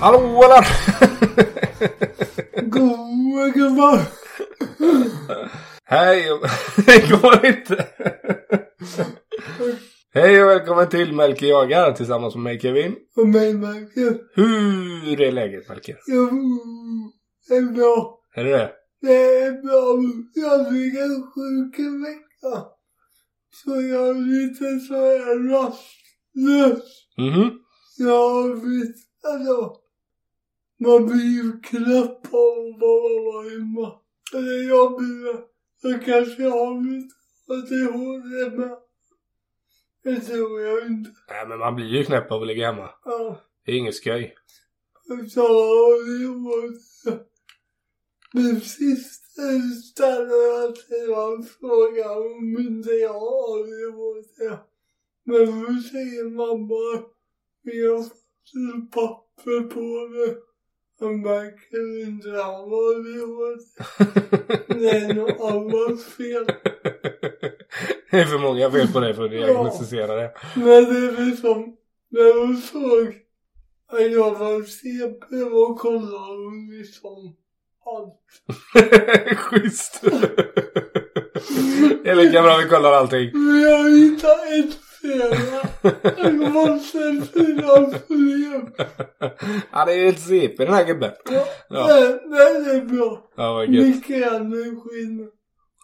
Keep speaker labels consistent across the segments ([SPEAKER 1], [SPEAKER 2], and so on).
[SPEAKER 1] Hallå eller?
[SPEAKER 2] Goa gubbar!
[SPEAKER 1] Hej och... Det går inte. Hej och välkommen till Melker jagar tillsammans med mig Kevin.
[SPEAKER 2] Och mig Michael.
[SPEAKER 1] Hur är läget Melker?
[SPEAKER 2] Jag det är bra.
[SPEAKER 1] Är det det?
[SPEAKER 2] Det är bra. Jag fick en sjuk en vecka. Så jag är lite så här rastlös.
[SPEAKER 1] Mhm.
[SPEAKER 2] Jag vet alltså. Man blir ju knäpp av att bara vara hemma. Eller jag blir det. Jag kanske har mitt ADHD med. Det tror jag inte.
[SPEAKER 1] Nej men man blir ju knäpp av att ligga hemma.
[SPEAKER 2] Ja.
[SPEAKER 1] Det är inget skoj.
[SPEAKER 2] Så det var min syster ställde alltid en fråga om inte jag har ADHD. Men nu säger mamma, vi har fått ett papper på det. Han märker inte att han har ADHD. Det är nog allas fel.
[SPEAKER 1] det är för många fel på dig för att
[SPEAKER 2] Ja.
[SPEAKER 1] diagnostisera det.
[SPEAKER 2] Men det är liksom, när hon såg att jag var CP och kollade hon liksom allt.
[SPEAKER 1] Schysst. det är lika bra vi kollar allting.
[SPEAKER 2] Men jag hittar ett fel. Jag måste fylla fler.
[SPEAKER 1] Han är ju helt CP den här gubben. Ja,
[SPEAKER 2] Nej, Men det är bra.
[SPEAKER 1] ja vad gött.
[SPEAKER 2] Mycket energin.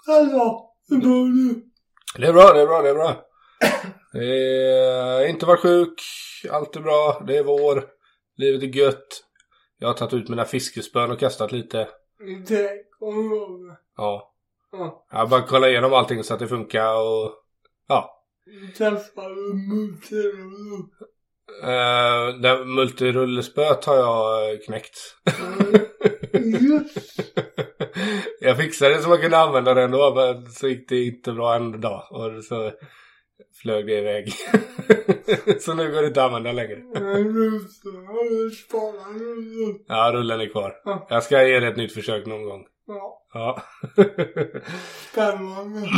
[SPEAKER 2] Hallå, hur mår du?
[SPEAKER 1] Det är bra, det är bra, det är bra. Det är, inte varit sjuk. Allt är bra. Det är vår. Livet är gött. Jag har tagit ut mina fiskespön och kastat lite.
[SPEAKER 2] Det kommer jag med.
[SPEAKER 1] Ja.
[SPEAKER 2] Ja.
[SPEAKER 1] Jag har bara kollat igenom allting så att det funkar och... Ja.
[SPEAKER 2] Träffade Mutterolo.
[SPEAKER 1] Uh, det multirullespöet har jag eh, knäckt.
[SPEAKER 2] Just
[SPEAKER 1] jag fixade det så man kunde använda det ändå men så gick det inte bra en dag. Och så flög det iväg. så nu går det inte att använda längre.
[SPEAKER 2] Men nu så har jag sparat nu.
[SPEAKER 1] Ja, rullen är kvar.
[SPEAKER 2] Ja.
[SPEAKER 1] Jag ska ge det ett nytt försök någon gång.
[SPEAKER 2] Ja,
[SPEAKER 1] Ja.
[SPEAKER 2] spännande.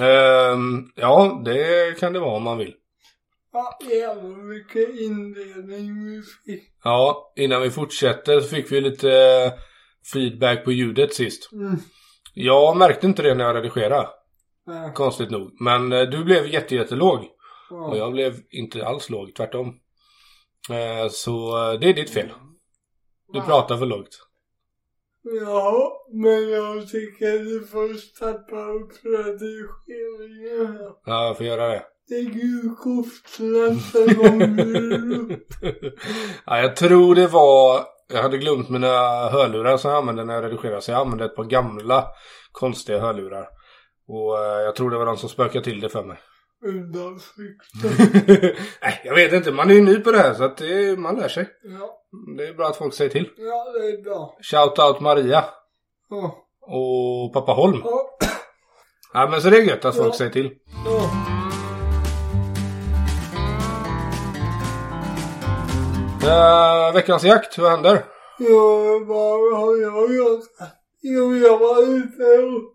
[SPEAKER 1] Ehm, ja, det kan det vara om man vill.
[SPEAKER 2] Ja, jävlar vilken inledning vi fick.
[SPEAKER 1] Ja, innan vi fortsätter så fick vi lite eh, feedback på ljudet sist.
[SPEAKER 2] Mm.
[SPEAKER 1] Jag märkte inte det när jag redigerade,
[SPEAKER 2] Ja.
[SPEAKER 1] konstigt nog. Men eh, du blev jätte, jättelåg.
[SPEAKER 2] Ja.
[SPEAKER 1] Och jag blev inte alls låg, tvärtom. Eh, Så eh, det är ditt fel. Du
[SPEAKER 2] Ja.
[SPEAKER 1] pratar för lågt.
[SPEAKER 2] Ja, men jag tycker ni får steppa upp redigeringen här.
[SPEAKER 1] Ja, jag får göra det.
[SPEAKER 2] Det är gulkort nästa gång vi är uppe.
[SPEAKER 1] ja, jag tror det var... Jag hade glömt mina hörlurar som jag använde när jag redigerade. Så jag använde ett par gamla konstiga hörlurar. Och eh, jag tror det var de som spökade till det för mig.
[SPEAKER 2] undan flykten.
[SPEAKER 1] Nej, jag vet inte. Man är ju ny på det här så att det, man lär sig.
[SPEAKER 2] Ja,
[SPEAKER 1] Det är bra att folk säger till.
[SPEAKER 2] ja, det är bra.
[SPEAKER 1] Shout out Maria
[SPEAKER 2] Ja,
[SPEAKER 1] och pappa Holm.
[SPEAKER 2] ja,
[SPEAKER 1] Ja, men så det är gött att folk
[SPEAKER 2] Ja.
[SPEAKER 1] säger till.
[SPEAKER 2] ja.
[SPEAKER 1] Eh, veckans jakt, vad händer?
[SPEAKER 2] Jag bara, har jag gjort? Jo, jag var ute och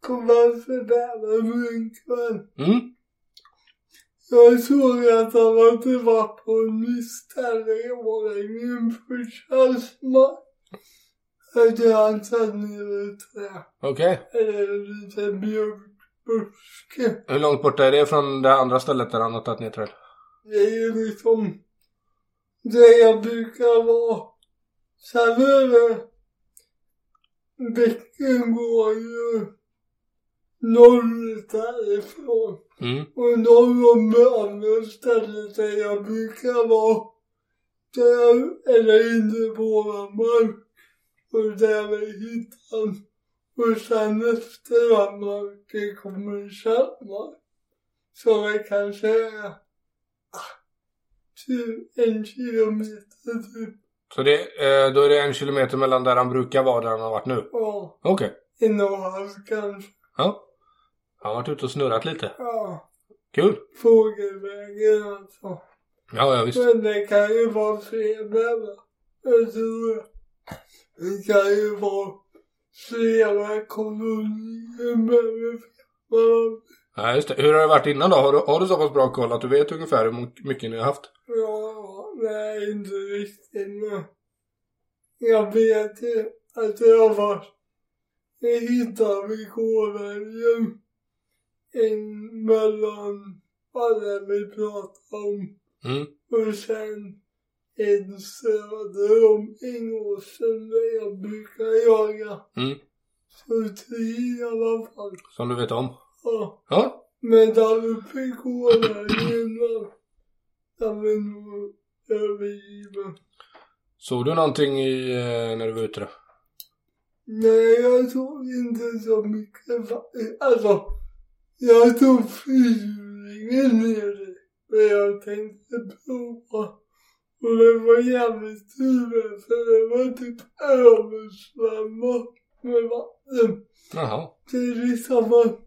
[SPEAKER 2] kom hem för bären en kväll.
[SPEAKER 1] Mm.
[SPEAKER 2] Jag såg att han hade varit på en misställe i Åränge inför Kärrsmark. Hade han tagit ner ett träd,
[SPEAKER 1] Okej.
[SPEAKER 2] eller en liten mjölkbuske.
[SPEAKER 1] Hur långt borta är det från det andra stället där han har tagit ner träd?
[SPEAKER 2] Det är ju liksom det jag brukar vara. Sen är det... Bäcken går ju norrut därifrån.
[SPEAKER 1] Mm.
[SPEAKER 2] Och någon av de andra ställena där jag brukar vara, där, eller inne på våran mark, och där vi hittar. Och sen efter den marken kommer Kärrmark, som är kanske ah, typ en kilometer typ.
[SPEAKER 1] Så det, eh, då är det en kilometer mellan där han brukar vara och där han har varit nu?
[SPEAKER 2] Ja,
[SPEAKER 1] Okej.
[SPEAKER 2] en och en halv kanske.
[SPEAKER 1] Ja. Han har varit ute och snurrat lite.
[SPEAKER 2] Ja,
[SPEAKER 1] Kul.
[SPEAKER 2] fågelvägen alltså.
[SPEAKER 1] Ja, ja visst.
[SPEAKER 2] Men det kan ju vara fler med. Jag tror det. Det kan ju vara flera kolonier med. Men
[SPEAKER 1] Ja, just det. Hur har det varit innan då? Har du, har du så pass bra koll att du vet ungefär hur mo- mycket ni har haft?
[SPEAKER 2] ja, Nej, inte riktigt men jag vet ju att jag var jag hittade vid gårdagen en mellan alla vi pratade om
[SPEAKER 1] Mm.
[SPEAKER 2] och sen en söder om Ingåsen där jag brukar jaga.
[SPEAKER 1] Mm.
[SPEAKER 2] Så tio i alla fall.
[SPEAKER 1] Som du vet om.
[SPEAKER 2] Ja.
[SPEAKER 1] Ja.
[SPEAKER 2] Men där uppe i gårdagen innan. Där vi nog övergiven.
[SPEAKER 1] Såg du någonting i, eh, när du var ute då?
[SPEAKER 2] Nej, jag tog inte så mycket faktiskt. Alltså, jag tog fyrhjulingen med det. Men jag tänkte prova. Och det var jävligt tur för det var typ översvämmat med vatten.
[SPEAKER 1] Jaha.
[SPEAKER 2] Det är liksom att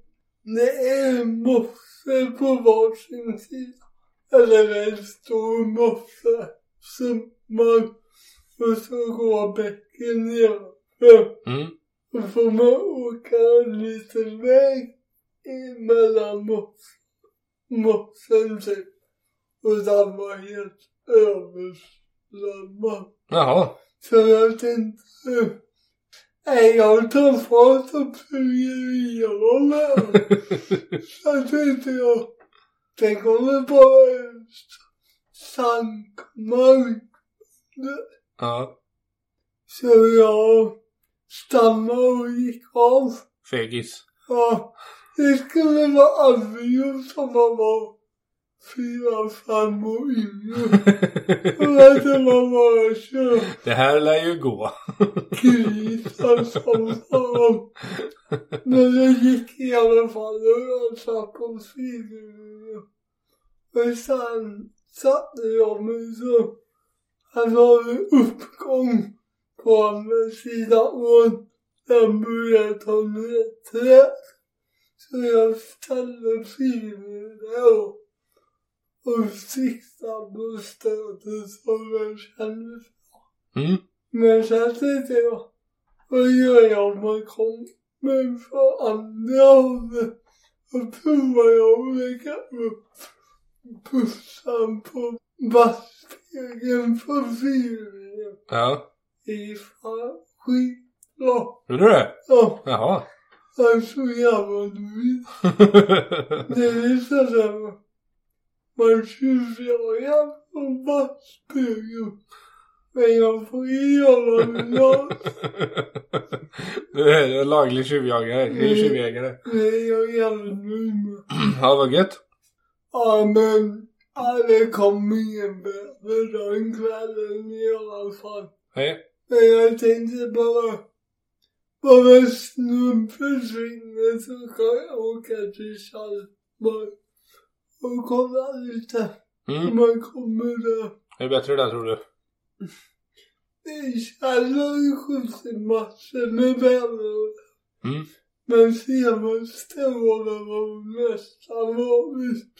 [SPEAKER 2] det är en mosse på varsin sida. Eller en stor mosse. Som man, och så går bäcken ner.
[SPEAKER 1] Mm.
[SPEAKER 2] Då får man åka en liten väg emellan moss- mossen typ. Och den var helt översvämmad.
[SPEAKER 1] Jaha.
[SPEAKER 2] Så jag tänkte, nej jag tar fart och puger igenom här. Så tänkte jag, det kommer bara en sankmark.
[SPEAKER 1] Ja.
[SPEAKER 2] Så jag stannade och gick av.
[SPEAKER 1] Fegis.
[SPEAKER 2] Ja, det skulle vara Alvio som man var fyra, fem och yngre. Och att det var bara
[SPEAKER 1] det här lär ju gå.
[SPEAKER 2] körkrisar som fan. Men det gick i alla fall och jag satt på sidorna. Och sen satte jag mig så här var det uppgång på andra sidan ån. Den började ta ner ett träd. Så jag ställde filen där och, och siktade på stödet som jag kände
[SPEAKER 1] Mm.
[SPEAKER 2] men sen tänkte jag, vad gör jag om man kommer från andra hållet? Då provar jag att lägga upp pussan på backspegeln på bilen
[SPEAKER 1] Ja.
[SPEAKER 2] ifall skitbra.
[SPEAKER 1] Gjorde du det?
[SPEAKER 2] Ja,
[SPEAKER 1] Jaha.
[SPEAKER 2] jag är så jävla nöjd. Det visade sig att man tjuvjagar på backspegeln. Men jag får göra vad jag
[SPEAKER 1] du är en laglig tjuvjagare. Du är tjuvjägare.
[SPEAKER 2] Nej, jag är jävligt nöjd med.
[SPEAKER 1] Ja, vad gött.
[SPEAKER 2] Ja, men ja, det kom ingen bättre den kvällen i alla fall.
[SPEAKER 1] Hej.
[SPEAKER 2] Men jag tänkte bara, bara snön försvinner så kan jag åka till Saltborg och kolla lite hur
[SPEAKER 1] Mm.
[SPEAKER 2] man kommer där.
[SPEAKER 1] Det är bättre där tror du.
[SPEAKER 2] Det känner ju skjutmassor med vänner.
[SPEAKER 1] Mm.
[SPEAKER 2] Men senaste åren var det nästan vanligt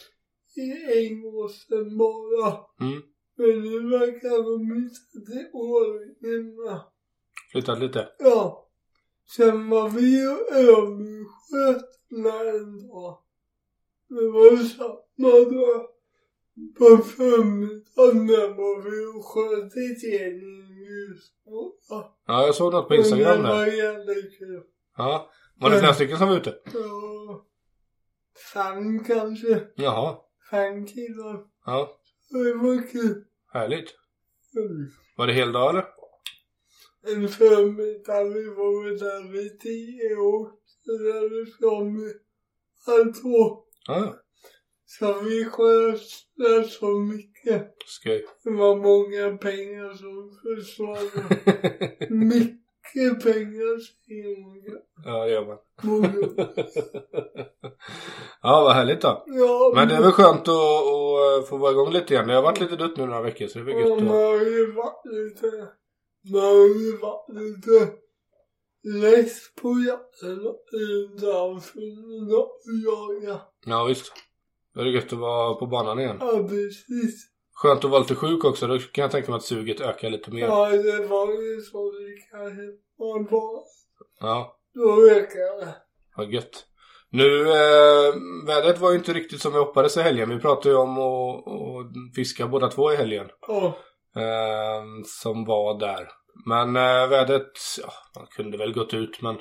[SPEAKER 2] i Ängåsen bara.
[SPEAKER 1] Mm.
[SPEAKER 2] Men nu verkar de inte till ordningen va?
[SPEAKER 1] Flyttat lite.
[SPEAKER 2] Ja. Sen var vi ju överskötna en dag. Det var samma dag. På förmiddagen där var vi och sköt igen i en ljusbåda.
[SPEAKER 1] Ja, jag såg något på Instagram
[SPEAKER 2] Det var
[SPEAKER 1] där.
[SPEAKER 2] jävligt kul.
[SPEAKER 1] Ja. Var det flera stycken som var ute?
[SPEAKER 2] Ja. Fem kanske.
[SPEAKER 1] Jaha.
[SPEAKER 2] Fem killar.
[SPEAKER 1] Ja.
[SPEAKER 2] Det var kul.
[SPEAKER 1] Härligt.
[SPEAKER 2] Mm.
[SPEAKER 1] Var det hel dag eller?
[SPEAKER 2] En förmiddag vi var där vid tio och åkte därifrån vid halv två.
[SPEAKER 1] Ja.
[SPEAKER 2] Så vi sköt rätt så mycket.
[SPEAKER 1] Skoj.
[SPEAKER 2] Det var många pengar som försvann. mycket pengar säger många.
[SPEAKER 1] ja, det gör man.
[SPEAKER 2] många.
[SPEAKER 1] ja, vad härligt då.
[SPEAKER 2] Ja,
[SPEAKER 1] Men det är väl skönt att, att få vara igång lite igen. Det har varit lite dött nu några veckor så det är väl
[SPEAKER 2] Ja,
[SPEAKER 1] gött
[SPEAKER 2] man
[SPEAKER 1] att...
[SPEAKER 2] har ju varit lite... Man har ju varit lite less på jakten innan filmen och jaga.
[SPEAKER 1] Ja, visst. Då är det gött att vara på banan igen.
[SPEAKER 2] Ja, precis.
[SPEAKER 1] Skönt att vara lite sjuk också. Då kan jag tänka mig att suget ökar lite mer. Ja.
[SPEAKER 2] Ja, det var ju så det kanske var. bara-
[SPEAKER 1] Ja,
[SPEAKER 2] Då ökade det.
[SPEAKER 1] vad gött. Nu, eh, vädret var ju inte riktigt som jag hoppades i helgen. Vi pratade ju om att, att fiska båda två i helgen.
[SPEAKER 2] Ja.
[SPEAKER 1] eh, som var där. Men eh, vädret, ja, man kunde väl gått ut men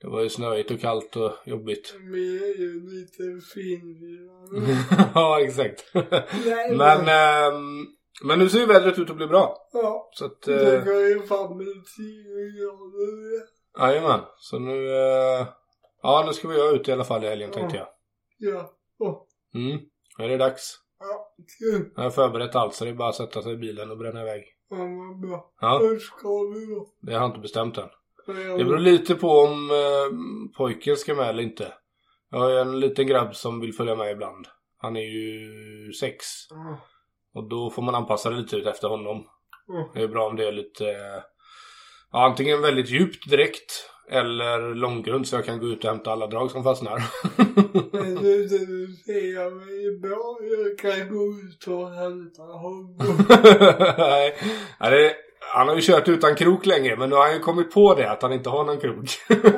[SPEAKER 1] det var ju snöigt och kallt och jobbigt.
[SPEAKER 2] Med en liten finfina.
[SPEAKER 1] ja, exakt.
[SPEAKER 2] Nej,
[SPEAKER 1] men, ehm, men nu ser ju vädret ut att bli bra.
[SPEAKER 2] Ja.
[SPEAKER 1] Så att,
[SPEAKER 2] Det
[SPEAKER 1] eh,
[SPEAKER 2] går ju fram med 10 grader.
[SPEAKER 1] jajamän. Så nu, eh, ja nu ska vi göra ut i alla fall i helgen tänkte jag.
[SPEAKER 2] Ja. Och
[SPEAKER 1] Mm, nu är det dags.
[SPEAKER 2] kul.
[SPEAKER 1] Jag har förberett allt så det är bara att sätta sig i bilen och bränna iväg.
[SPEAKER 2] Ja, vad bra.
[SPEAKER 1] Ja,
[SPEAKER 2] Hur ska vi då?
[SPEAKER 1] det har jag inte bestämt än.
[SPEAKER 2] Ja,
[SPEAKER 1] Det beror lite på om eh, pojken ska med eller inte. Jag har ju en liten grabb som vill följa med ibland. Han är ju sex.
[SPEAKER 2] Ja.
[SPEAKER 1] Och då får man anpassa det lite ut efter honom.
[SPEAKER 2] Ja.
[SPEAKER 1] Det är bra om det är lite... eh, Ja, antingen väldigt djupt direkt. Eller långgrund så jag kan gå ut och hämta alla drag som fastnar.
[SPEAKER 2] Men nu när du ser mig bra, jag kan gå ut och hämta honom.
[SPEAKER 1] Nej, ja, det, han har ju kört utan krok länge men nu har han ju kommit på det att han inte har någon krok.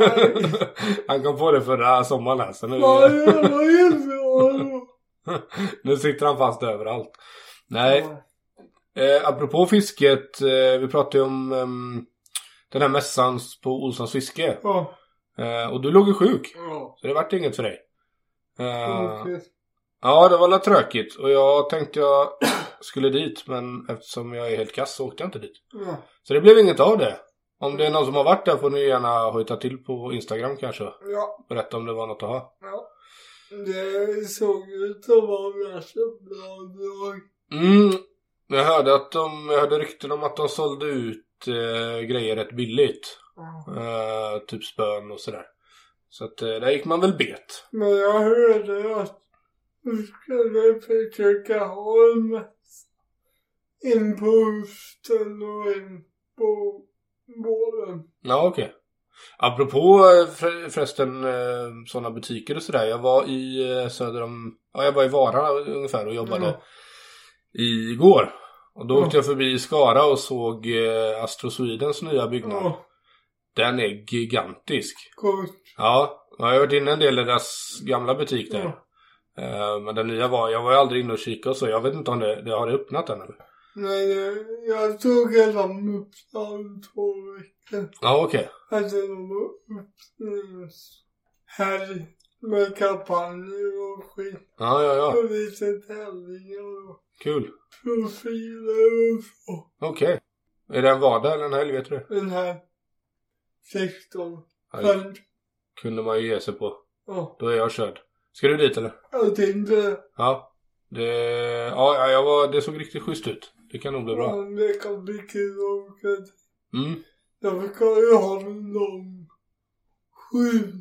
[SPEAKER 1] han kom på det förra sommaren här, så nu,
[SPEAKER 2] Vad är vad är det för honom?
[SPEAKER 1] nu sitter han fast överallt. Nej, eh, apropå fisket. Eh, vi pratade ju om ehm, den här mässan på Olssons fiske.
[SPEAKER 2] Ja.
[SPEAKER 1] Eh, och du låg ju sjuk.
[SPEAKER 2] Ja.
[SPEAKER 1] Så det vart inget för dig. Eh,
[SPEAKER 2] okej.
[SPEAKER 1] ja, det var lite tråkigt. Och jag tänkte jag skulle dit. Men eftersom jag är helt kass så åkte jag inte dit.
[SPEAKER 2] Ja.
[SPEAKER 1] Så det blev inget av det. Om det är någon som har varit där får ni gärna hojta till på Instagram kanske.
[SPEAKER 2] Ja.
[SPEAKER 1] Berätta om det var något att ha.
[SPEAKER 2] Ja. Det såg ut att vara ganska bra drag.
[SPEAKER 1] Mm. Jag hörde att de, jag hörde rykten om att de sålde ut eh, grejer rätt billigt.
[SPEAKER 2] Ja.
[SPEAKER 1] Eh, typ spön och sådär. Så att eh, där gick man väl bet.
[SPEAKER 2] Men jag hörde att vi skulle försöka ha en mässa. En på hösten och en på våren.
[SPEAKER 1] Ja, okej. Apropå eh, för, förresten eh, sådana butiker och sådär. Jag var i eh, söder om... Ja, jag var i Vara ungefär och jobbade
[SPEAKER 2] Mm.
[SPEAKER 1] igår. Och då
[SPEAKER 2] Mm.
[SPEAKER 1] åkte jag förbi Skara och såg eh, Astro Swedens nya byggnad.
[SPEAKER 2] Ja.
[SPEAKER 1] Den är gigantisk.
[SPEAKER 2] Kort.
[SPEAKER 1] Ja, jag har varit inne en del i deras gamla butik där.
[SPEAKER 2] Mm.
[SPEAKER 1] Eh, men den nya var... Jag var ju aldrig inne och kikade och så. Jag vet inte om det, det har det öppnat än eller?
[SPEAKER 2] Nej, jag- jag tog hela Uppsala två veckor.
[SPEAKER 1] Ja, okej.
[SPEAKER 2] Hade någon uppsnushelg med kampanjer och skit.
[SPEAKER 1] Ja, ja, ja.
[SPEAKER 2] Och lite tävlingar och
[SPEAKER 1] Kul.
[SPEAKER 2] profiler och så.
[SPEAKER 1] Okej. Är det en vardag eller en helg? Vet du det?
[SPEAKER 2] Den här sektorn.
[SPEAKER 1] Ja, det
[SPEAKER 2] Men,
[SPEAKER 1] kunde man ju ge sig på.
[SPEAKER 2] ja,
[SPEAKER 1] Då är jag körd. Ska du dit eller?
[SPEAKER 2] jag tänkte
[SPEAKER 1] Ja. Det, ja, ja, jag var, det såg riktigt schysst ut. Det kan nog bli bra.
[SPEAKER 2] om det kan bli kul att åka.
[SPEAKER 1] Mm.
[SPEAKER 2] Därför kan jag ju ha en lång skjutnudlare,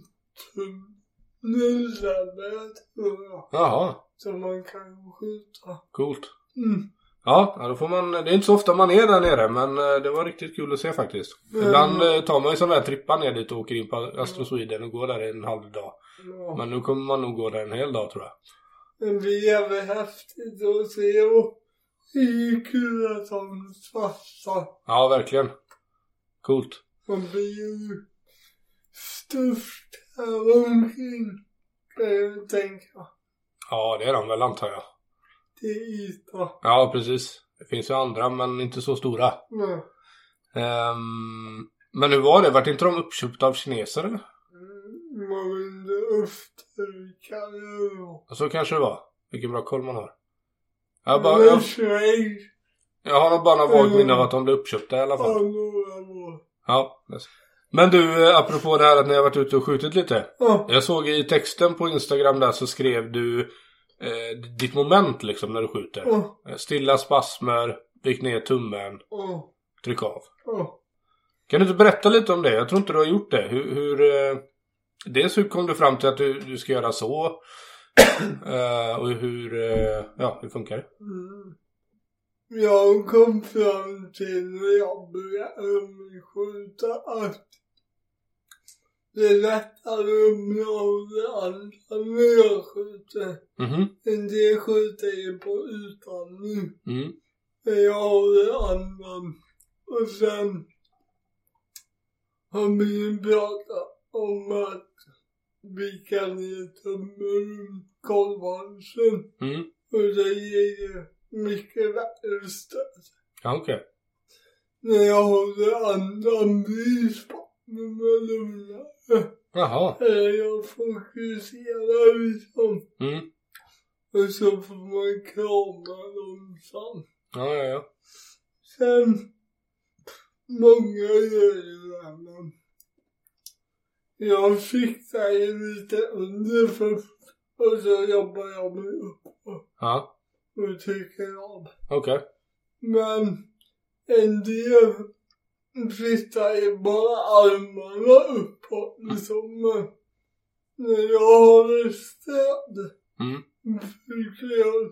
[SPEAKER 2] tror jag.
[SPEAKER 1] Jaha,
[SPEAKER 2] som man kan skjuta.
[SPEAKER 1] coolt.
[SPEAKER 2] Mm.
[SPEAKER 1] Ja, ja, då får man, det är inte så ofta man är där nere men eh, det var riktigt kul att se faktiskt.
[SPEAKER 2] Mm.
[SPEAKER 1] Ibland eh, tar man ju sån där trippa ner dit och åker in på Astro Sweden och går där en halv dag.
[SPEAKER 2] Ja.
[SPEAKER 1] Men nu kommer man nog gå där en hel dag tror jag.
[SPEAKER 2] Men det är jävligt häftigt att se och det är kul att de satsar.
[SPEAKER 1] Ja, verkligen. Coolt.
[SPEAKER 2] De blir ju störst här omkring. Kan jag tänka.
[SPEAKER 1] Ja, det är de väl antar jag.
[SPEAKER 2] Till yta.
[SPEAKER 1] Ja, precis. Det finns ju andra men inte så stora.
[SPEAKER 2] Men,
[SPEAKER 1] Ehm, men hur var det? Vart inte de uppköpta av kineser eller?
[SPEAKER 2] mm, man vill inte uppstryka det då.
[SPEAKER 1] Så kanske det var. Vilken bra koll man har. Jag, bara, jag,
[SPEAKER 2] Men Schweiz
[SPEAKER 1] jag har nog bara några vagt minne av att de blev uppköpta i alla fall.
[SPEAKER 2] har några mål.
[SPEAKER 1] Ja. Men du, eh, apropå det här att ni har varit ute och skjutit lite.
[SPEAKER 2] Ja,
[SPEAKER 1] Jag såg i texten på Instagram där så skrev du eh, ditt moment liksom när du skjuter.
[SPEAKER 2] ja,
[SPEAKER 1] Eh, Stilla spasmer, vik ner tummen,
[SPEAKER 2] ja,
[SPEAKER 1] tryck av.
[SPEAKER 2] ja.
[SPEAKER 1] Kan du inte berätta lite om det? Jag tror inte du har gjort det. Hur, hur, eh, dels hur kom du fram till att du, du ska göra så? Eh, och hur, eh, ja, hur funkar det?
[SPEAKER 2] Mm. Jag kom fram till när jag började umgåsskjuta att det är lättare att umgås med andra när jag skjuter.
[SPEAKER 1] Mhm.
[SPEAKER 2] En del skjuter ju på utandning,
[SPEAKER 1] Mm.
[SPEAKER 2] men jag håller andan. Och sen har vi ju pratat om att vi kan heta Munkonvalsen.
[SPEAKER 1] Mm.
[SPEAKER 2] Och det ger ju mycket värre stöd.
[SPEAKER 1] Ja, okej.
[SPEAKER 2] När jag håller andan blir spannen lugnare.
[SPEAKER 1] Jaha.
[SPEAKER 2] Eller jag fokuserar liksom.
[SPEAKER 1] Mm.
[SPEAKER 2] Och så får man krama långsamt.
[SPEAKER 1] Ja, ja, ja.
[SPEAKER 2] Sen, många gör ju det här, men jag fixar ju lite under först och så jobbar jag mig upp
[SPEAKER 1] Ja,
[SPEAKER 2] och tycker av.
[SPEAKER 1] okej.
[SPEAKER 2] Men en del flyttar ju bara armarna uppåt liksom. Men När jag har ett stöd
[SPEAKER 1] Mm.
[SPEAKER 2] försöker jag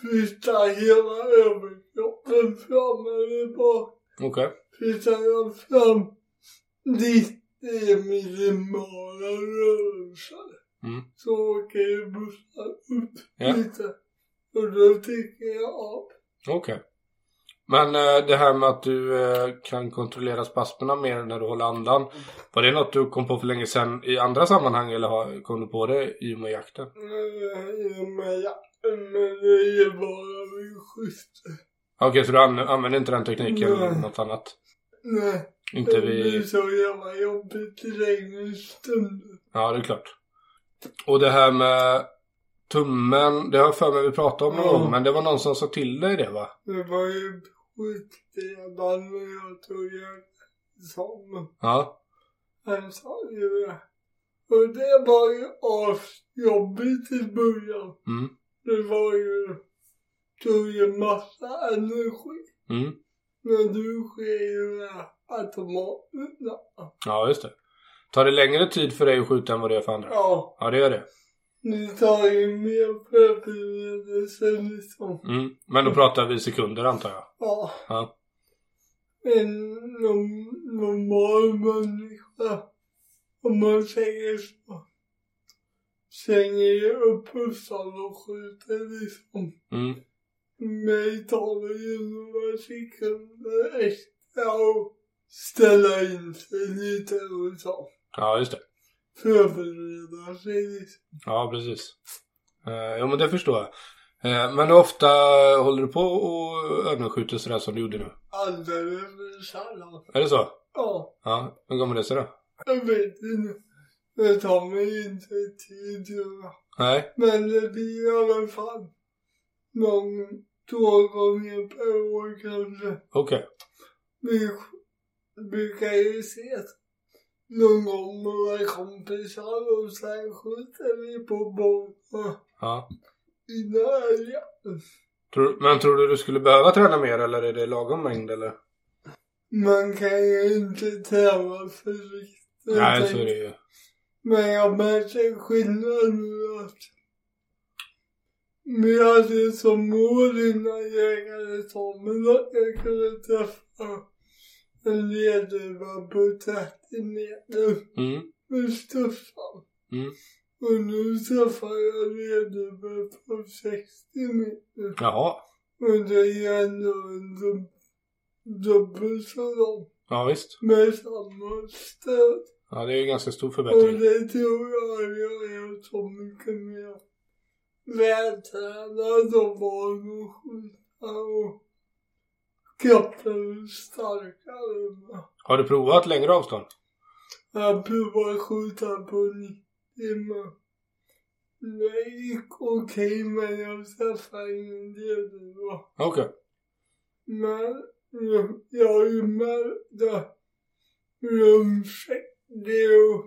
[SPEAKER 2] flytta hela överkroppen fram eller bak.
[SPEAKER 1] Okej.
[SPEAKER 2] Flyttar jag fram 90 minimala rörelser
[SPEAKER 1] Mm.
[SPEAKER 2] så åker ju bussar upp
[SPEAKER 1] Ja.
[SPEAKER 2] lite. Och då tycker jag av.
[SPEAKER 1] Okej. Men eh, det här med att du eh, kan kontrollera spasmerna mer när du håller andan. Var det något du kom på för länge sedan i andra sammanhang eller har- kom du på det i och med jakten?
[SPEAKER 2] Eh, Men, ja, men det är ju bara min skytte.
[SPEAKER 1] Okej, så du an- använder inte den tekniken
[SPEAKER 2] Nej.
[SPEAKER 1] eller något annat?
[SPEAKER 2] Nej,
[SPEAKER 1] Inte
[SPEAKER 2] det blir
[SPEAKER 1] vid...
[SPEAKER 2] så jävla jobbigt i längre stunder.
[SPEAKER 1] Ja, det är klart. Och det här med tummen, det har jag för mig vi pratade om någon
[SPEAKER 2] Ja.
[SPEAKER 1] gång, men det var någon som sa till dig det va?
[SPEAKER 2] Det var ju skitredan när jag tog en examen.
[SPEAKER 1] Ja.
[SPEAKER 2] Han sa ju det. Och det var ju asjobbigt i början.
[SPEAKER 1] Mm.
[SPEAKER 2] Det var ju, tog ju massa energi.
[SPEAKER 1] Mm.
[SPEAKER 2] Men nu sker ju det automatiskt. Ja.
[SPEAKER 1] Ja, just det. Tar det längre tid för dig att skjuta än vad det gör för andra?
[SPEAKER 2] ja,
[SPEAKER 1] Ja, det gör det.
[SPEAKER 2] det tar ju mer förberedelse liksom.
[SPEAKER 1] Mm. Men då pratar vi sekunder antar jag.
[SPEAKER 2] Ja.
[SPEAKER 1] Ja.
[SPEAKER 2] Oh. En nom- normal människa, om man säger så, slänger ju upp bussar och skjuter liksom.
[SPEAKER 1] Mm.
[SPEAKER 2] Mig tar det ju några sekunder extra att ställa in sig lite och så.
[SPEAKER 1] Ja, just det.
[SPEAKER 2] Förbereda sig liksom.
[SPEAKER 1] Ja, precis. Uh, jo, men det förstår jag. Eh, men hur ofta håller du på och övningsskjuter sådär som du gjorde nu?
[SPEAKER 2] Alldeles för sällan.
[SPEAKER 1] Är det så?
[SPEAKER 2] Ja,
[SPEAKER 1] Ja. Hur kommer det sig då?
[SPEAKER 2] jag vet inte. Det tar mig inte tid att
[SPEAKER 1] Nej.
[SPEAKER 2] Men det blir i alla fall någon, två gånger per år kanske.
[SPEAKER 1] Okej.
[SPEAKER 2] Vi brukar ju ses någon gång med våra kompisar och sen skjuter vi på båtarna
[SPEAKER 1] Ja.
[SPEAKER 2] innan helgen.
[SPEAKER 1] Tror, men tror du du skulle behöva träna mer eller är det lagom mängd eller?
[SPEAKER 2] Man kan ju inte träna för riktigt.
[SPEAKER 1] Nej, så är det ju.
[SPEAKER 2] Men jag märker skillnad nu att vi hade som mål innan jägarexamen att jag kunde träffa en lerduvra på 30 meter
[SPEAKER 1] Mm.
[SPEAKER 2] med Staffan.
[SPEAKER 1] Mm.
[SPEAKER 2] Och nu träffar jag lerduvra på 60 meter.
[SPEAKER 1] Jaha.
[SPEAKER 2] Och det är ändå en dub- dubbelt så långt
[SPEAKER 1] Ja, visst.
[SPEAKER 2] med samma stöd.
[SPEAKER 1] Ja, det är ju ganska stor
[SPEAKER 2] Och
[SPEAKER 1] förbättring.
[SPEAKER 2] det tror jag jag är så mycket mer vältränad och van att skjuta och kroppen är starkare.
[SPEAKER 1] Har du provat längre avstånd?
[SPEAKER 2] Jag provade skjuta på 90 men det gick okej men jag träffade ingen ledare.
[SPEAKER 1] Okej.
[SPEAKER 2] Men jag- jag har ju märkt att rumskedjor och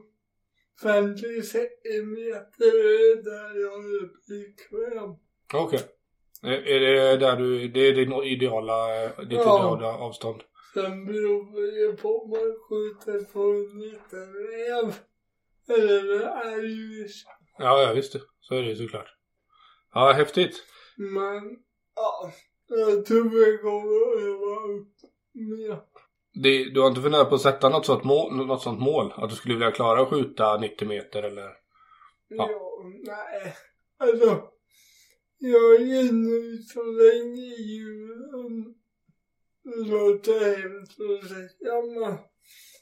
[SPEAKER 2] 50 centimeter är där jag är bekväm.
[SPEAKER 1] Okej. Är är det där du, det är din ideala, ditt
[SPEAKER 2] Ja.
[SPEAKER 1] ideala avstånd?
[SPEAKER 2] Sen beror det ju på om man skjuter på en liten räv eller en älg.
[SPEAKER 1] Ja, ja visst det. Så är det ju såklart. Ja, häftigt.
[SPEAKER 2] Men ja, jag tror jag kommer att öva upp mer.
[SPEAKER 1] Det, du har inte funderat på att sätta något sånt, mål, något sånt mål? Att du skulle vilja klara att skjuta 90 meter eller?
[SPEAKER 2] Ja.
[SPEAKER 1] Ja.
[SPEAKER 2] nej. Alltså, jag är nu så länge djuren låter hemskt att säga men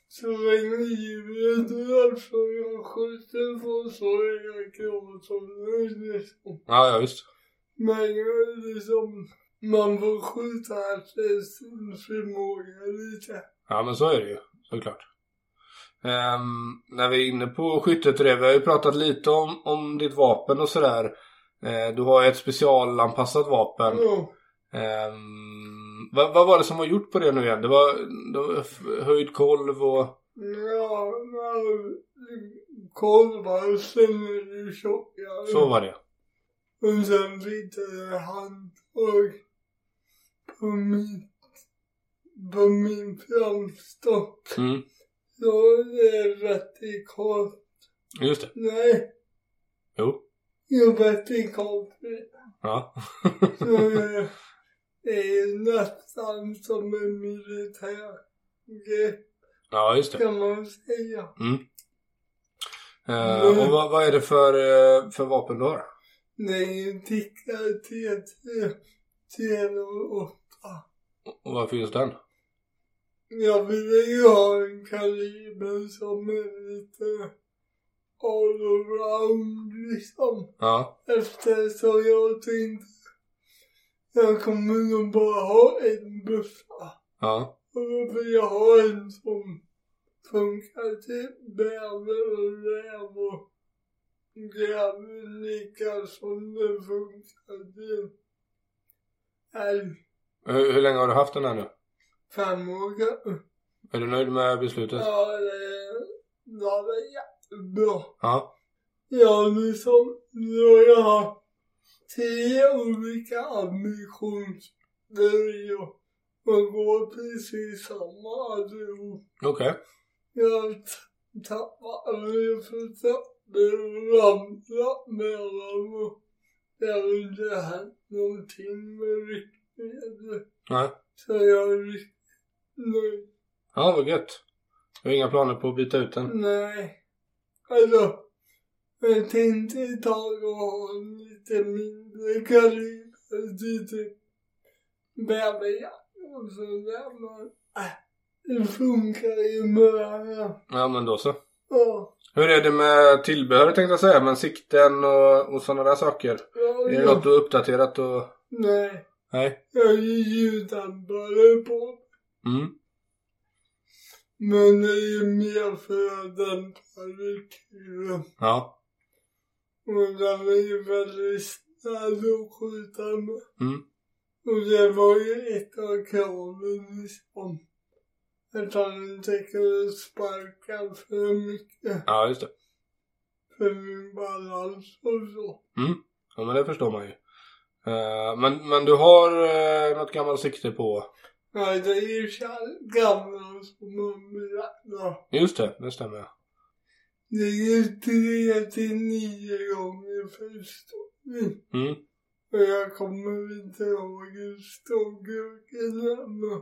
[SPEAKER 2] Så länge djuret rör som jag skjuter på så är jag kvar som nöjd liksom.
[SPEAKER 1] Ja, ja visst.
[SPEAKER 2] Men jag är liksom, man får skjuta efter sin förmåga lite.
[SPEAKER 1] Ja, men så är det ju. Såklart. Ehm, när vi är inne på skyttet och det, vi har ju pratat lite om, om ditt vapen och sådär. Eh, du har ju ett specialanpassat vapen.
[SPEAKER 2] Ja.
[SPEAKER 1] Ehm, vad, vad var det som var gjort på det nu igen? Det var, det var f- höjd kolv och...
[SPEAKER 2] Ja, när korvar stänger ju tjockare.
[SPEAKER 1] Så var det.
[SPEAKER 2] Och sen hittade han och på mitt, på min framstock.
[SPEAKER 1] Mm,
[SPEAKER 2] Så det är vertikalt.
[SPEAKER 1] just det.
[SPEAKER 2] Nej,
[SPEAKER 1] Jo.
[SPEAKER 2] jag är vertikalt.
[SPEAKER 1] Ja.
[SPEAKER 2] Så det- det är nästan som en militär grej
[SPEAKER 1] Ja, just det.
[SPEAKER 2] kan man säga.
[SPEAKER 1] Ehm, och vad, vad är det för, eh, för vapen du har?
[SPEAKER 2] Det är ju tickar T3, T08.
[SPEAKER 1] Och varför just den?
[SPEAKER 2] Jag ville ju ha en kaliber som är lite allround liksom.
[SPEAKER 1] Ja.
[SPEAKER 2] Eftersom jag tänkte jag kommer nog bara ha en buffra.
[SPEAKER 1] Ja.
[SPEAKER 2] Och då vill jag ha en som funkar till bäver och räv och gräv lika som den funkar till älg.
[SPEAKER 1] Hur, hur länge har du haft den här nu?
[SPEAKER 2] Fem år gammal.
[SPEAKER 1] Är du nöjd med beslutet?
[SPEAKER 2] Ja, det ja, det är jättebra.
[SPEAKER 1] Ja.
[SPEAKER 2] Ja, liksom, nu har jag haft tio olika ambitionsnivåer och går precis samma allihop.
[SPEAKER 1] Okej.
[SPEAKER 2] Jag t- tappar mig för trappor och ramlar mellan och det har inte hänt någonting med ryckningen.
[SPEAKER 1] Nej.
[SPEAKER 2] Så jag är riktigt nöjd.
[SPEAKER 1] Ja, vad gött. Du har inga planer på att byta ut den?
[SPEAKER 2] Nej. Alltså, jag tänkte ett tag att ha en lite mindre kaliber till typ bäverjakt och sådär men äh, det funkar ju med varandra.
[SPEAKER 1] Ja, men då så.
[SPEAKER 2] Ja,
[SPEAKER 1] Hur är det med tillbehör tänkte jag säga, men sikten och, och sådana där saker?
[SPEAKER 2] ja,
[SPEAKER 1] Är det något
[SPEAKER 2] ja.
[SPEAKER 1] du har uppdaterat och...
[SPEAKER 2] Nej,
[SPEAKER 1] Nej?
[SPEAKER 2] jag har ju ljuddämpare på
[SPEAKER 1] Mm.
[SPEAKER 2] men det är ju mer för att dämpa rekylen.
[SPEAKER 1] Ja.
[SPEAKER 2] Och den är ju väldigt snäll att skjuta med.
[SPEAKER 1] Mm.
[SPEAKER 2] Och det var ju ett av kraven liksom. Att han inte kunde sparka för mycket
[SPEAKER 1] Ja, just det.
[SPEAKER 2] för min balans och så.
[SPEAKER 1] Ja, men det förstår man ju. Eh, men, men du har uh, något gammalt sikte på?
[SPEAKER 2] Nej, det är ju kär- gamla som man berättar.
[SPEAKER 1] Just det, det stämmer. ja.
[SPEAKER 2] Det är ju tre till nio gånger för stor.
[SPEAKER 1] Mm.
[SPEAKER 2] Och jag kommer inte ihåg hur stor gurken är men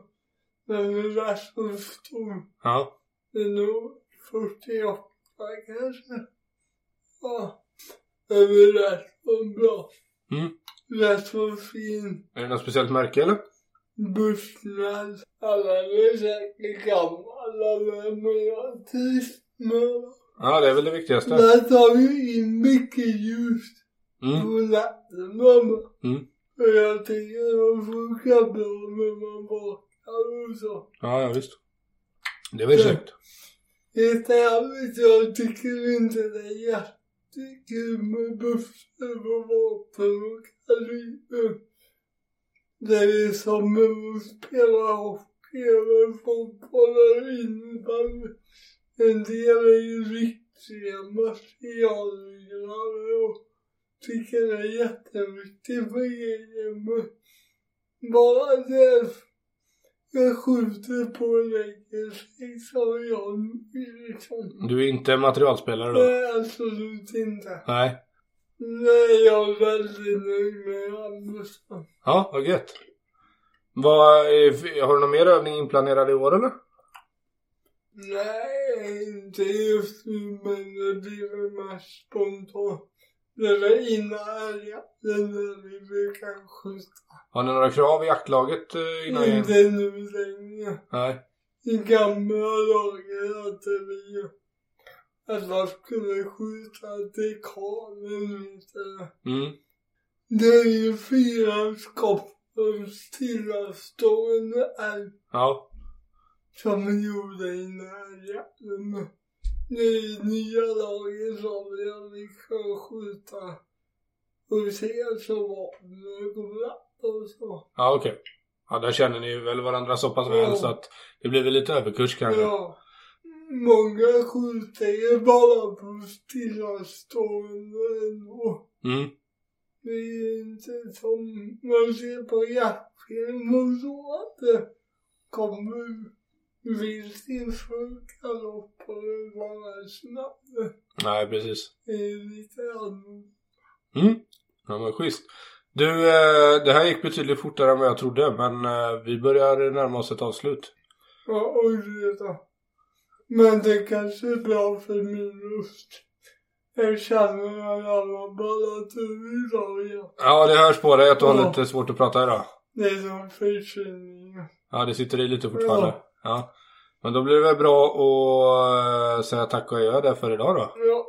[SPEAKER 2] den är rätt så stor.
[SPEAKER 1] Ja.
[SPEAKER 2] Det er är nog 48 kanske. Ja. Det är väl rätt så bra.
[SPEAKER 1] Mm.
[SPEAKER 2] Rätt så fin.
[SPEAKER 1] Är det något speciellt märke eller?
[SPEAKER 2] Bussnäs. Alla är säkert gamla där, men jag trivs med dem.
[SPEAKER 1] Ja, det är väl det viktigaste.
[SPEAKER 2] Där tar ju in mycket ljus
[SPEAKER 1] Mm.
[SPEAKER 2] på natten mamma.
[SPEAKER 1] Mm.
[SPEAKER 2] Och jag tycker de funkar bra när man vaknar och så.
[SPEAKER 1] Ja, ja visst. Det var ju
[SPEAKER 2] Ja.
[SPEAKER 1] snyggt.
[SPEAKER 2] Helt ärligt, jag tycker inte det är jättekul med buffar och vapen och kaliber. Det är som att spela hockey eller fotboll eller innebandy. En del är ju riktiga materialgrabbar och tycker det är jätteviktigt för grejer men bara det jag skjuter på och lägger sig som jag vill liksom.
[SPEAKER 1] Du är inte materialspelare då?
[SPEAKER 2] Nej, absolut inte.
[SPEAKER 1] Nej.
[SPEAKER 2] Nej, jag är väldigt nöjd med Andersson.
[SPEAKER 1] Ja, vad gött. Vad, är- har du någon mer övning inplanerad i år eller?
[SPEAKER 2] Nej, inte just nu, men det blir väl mest spontant. Det var innan älgjakten när vi brukar skjuta. Mm,
[SPEAKER 1] Har ni några krav i jaktlaget eh, innan?
[SPEAKER 2] Inte nu längre.
[SPEAKER 1] Nej.
[SPEAKER 2] i gamla lagen att vi att man skulle skjuta dekanen istället.
[SPEAKER 1] Mm.
[SPEAKER 2] Det är ju fyra skott som stillastående är
[SPEAKER 1] Ja.
[SPEAKER 2] som är gjorda i närheten. Det är nya laget som jag fick skjuta och se så vapnen går upp och så.
[SPEAKER 1] Ja, okej. Ja, där känner ni väl varandra så pass väl
[SPEAKER 2] Ja.
[SPEAKER 1] så att det blir väl lite överkurs kanske.
[SPEAKER 2] Ja. Många skjuter ju bara på stillastående ändå.
[SPEAKER 1] Mm.
[SPEAKER 2] Det är inte som man ser på jaktfilm och så att det kommer vilt ifrån galopper bara snabbt.
[SPEAKER 1] Nej, precis.
[SPEAKER 2] Det är lite annorlunda.
[SPEAKER 1] Mm. Ja, men schysst. Du, eh, det här gick betydligt fortare än vad jag trodde, men eh, vi börjar närma oss ett avslut.
[SPEAKER 2] Ja, och det då. Men det kanske är bra för min röst. Jag känner att jag har ballat ur idag. igen.
[SPEAKER 1] Ja, det hörs på dig att du har
[SPEAKER 2] Ja.
[SPEAKER 1] lite svårt att prata idag.
[SPEAKER 2] Det är som förkylning.
[SPEAKER 1] Ja, det sitter i lite fortfarande. Ja.
[SPEAKER 2] Ja.
[SPEAKER 1] Men då blir det väl bra att eh, säga tack och adjö där för idag då.
[SPEAKER 2] Ja,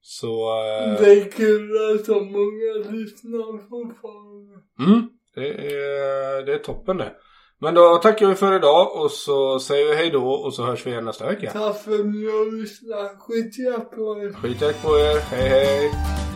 [SPEAKER 1] Så... eh,
[SPEAKER 2] det är kul att så många lyssnar fortfarande.
[SPEAKER 1] Mm, det är, det är toppen det. Men då tackar vi för idag och så säger vi hej då och så hörs vi igen nästa vecka.
[SPEAKER 2] Tack för att ni har lyssnat. Skit i applåder.
[SPEAKER 1] Skitjakt på er, hej hej!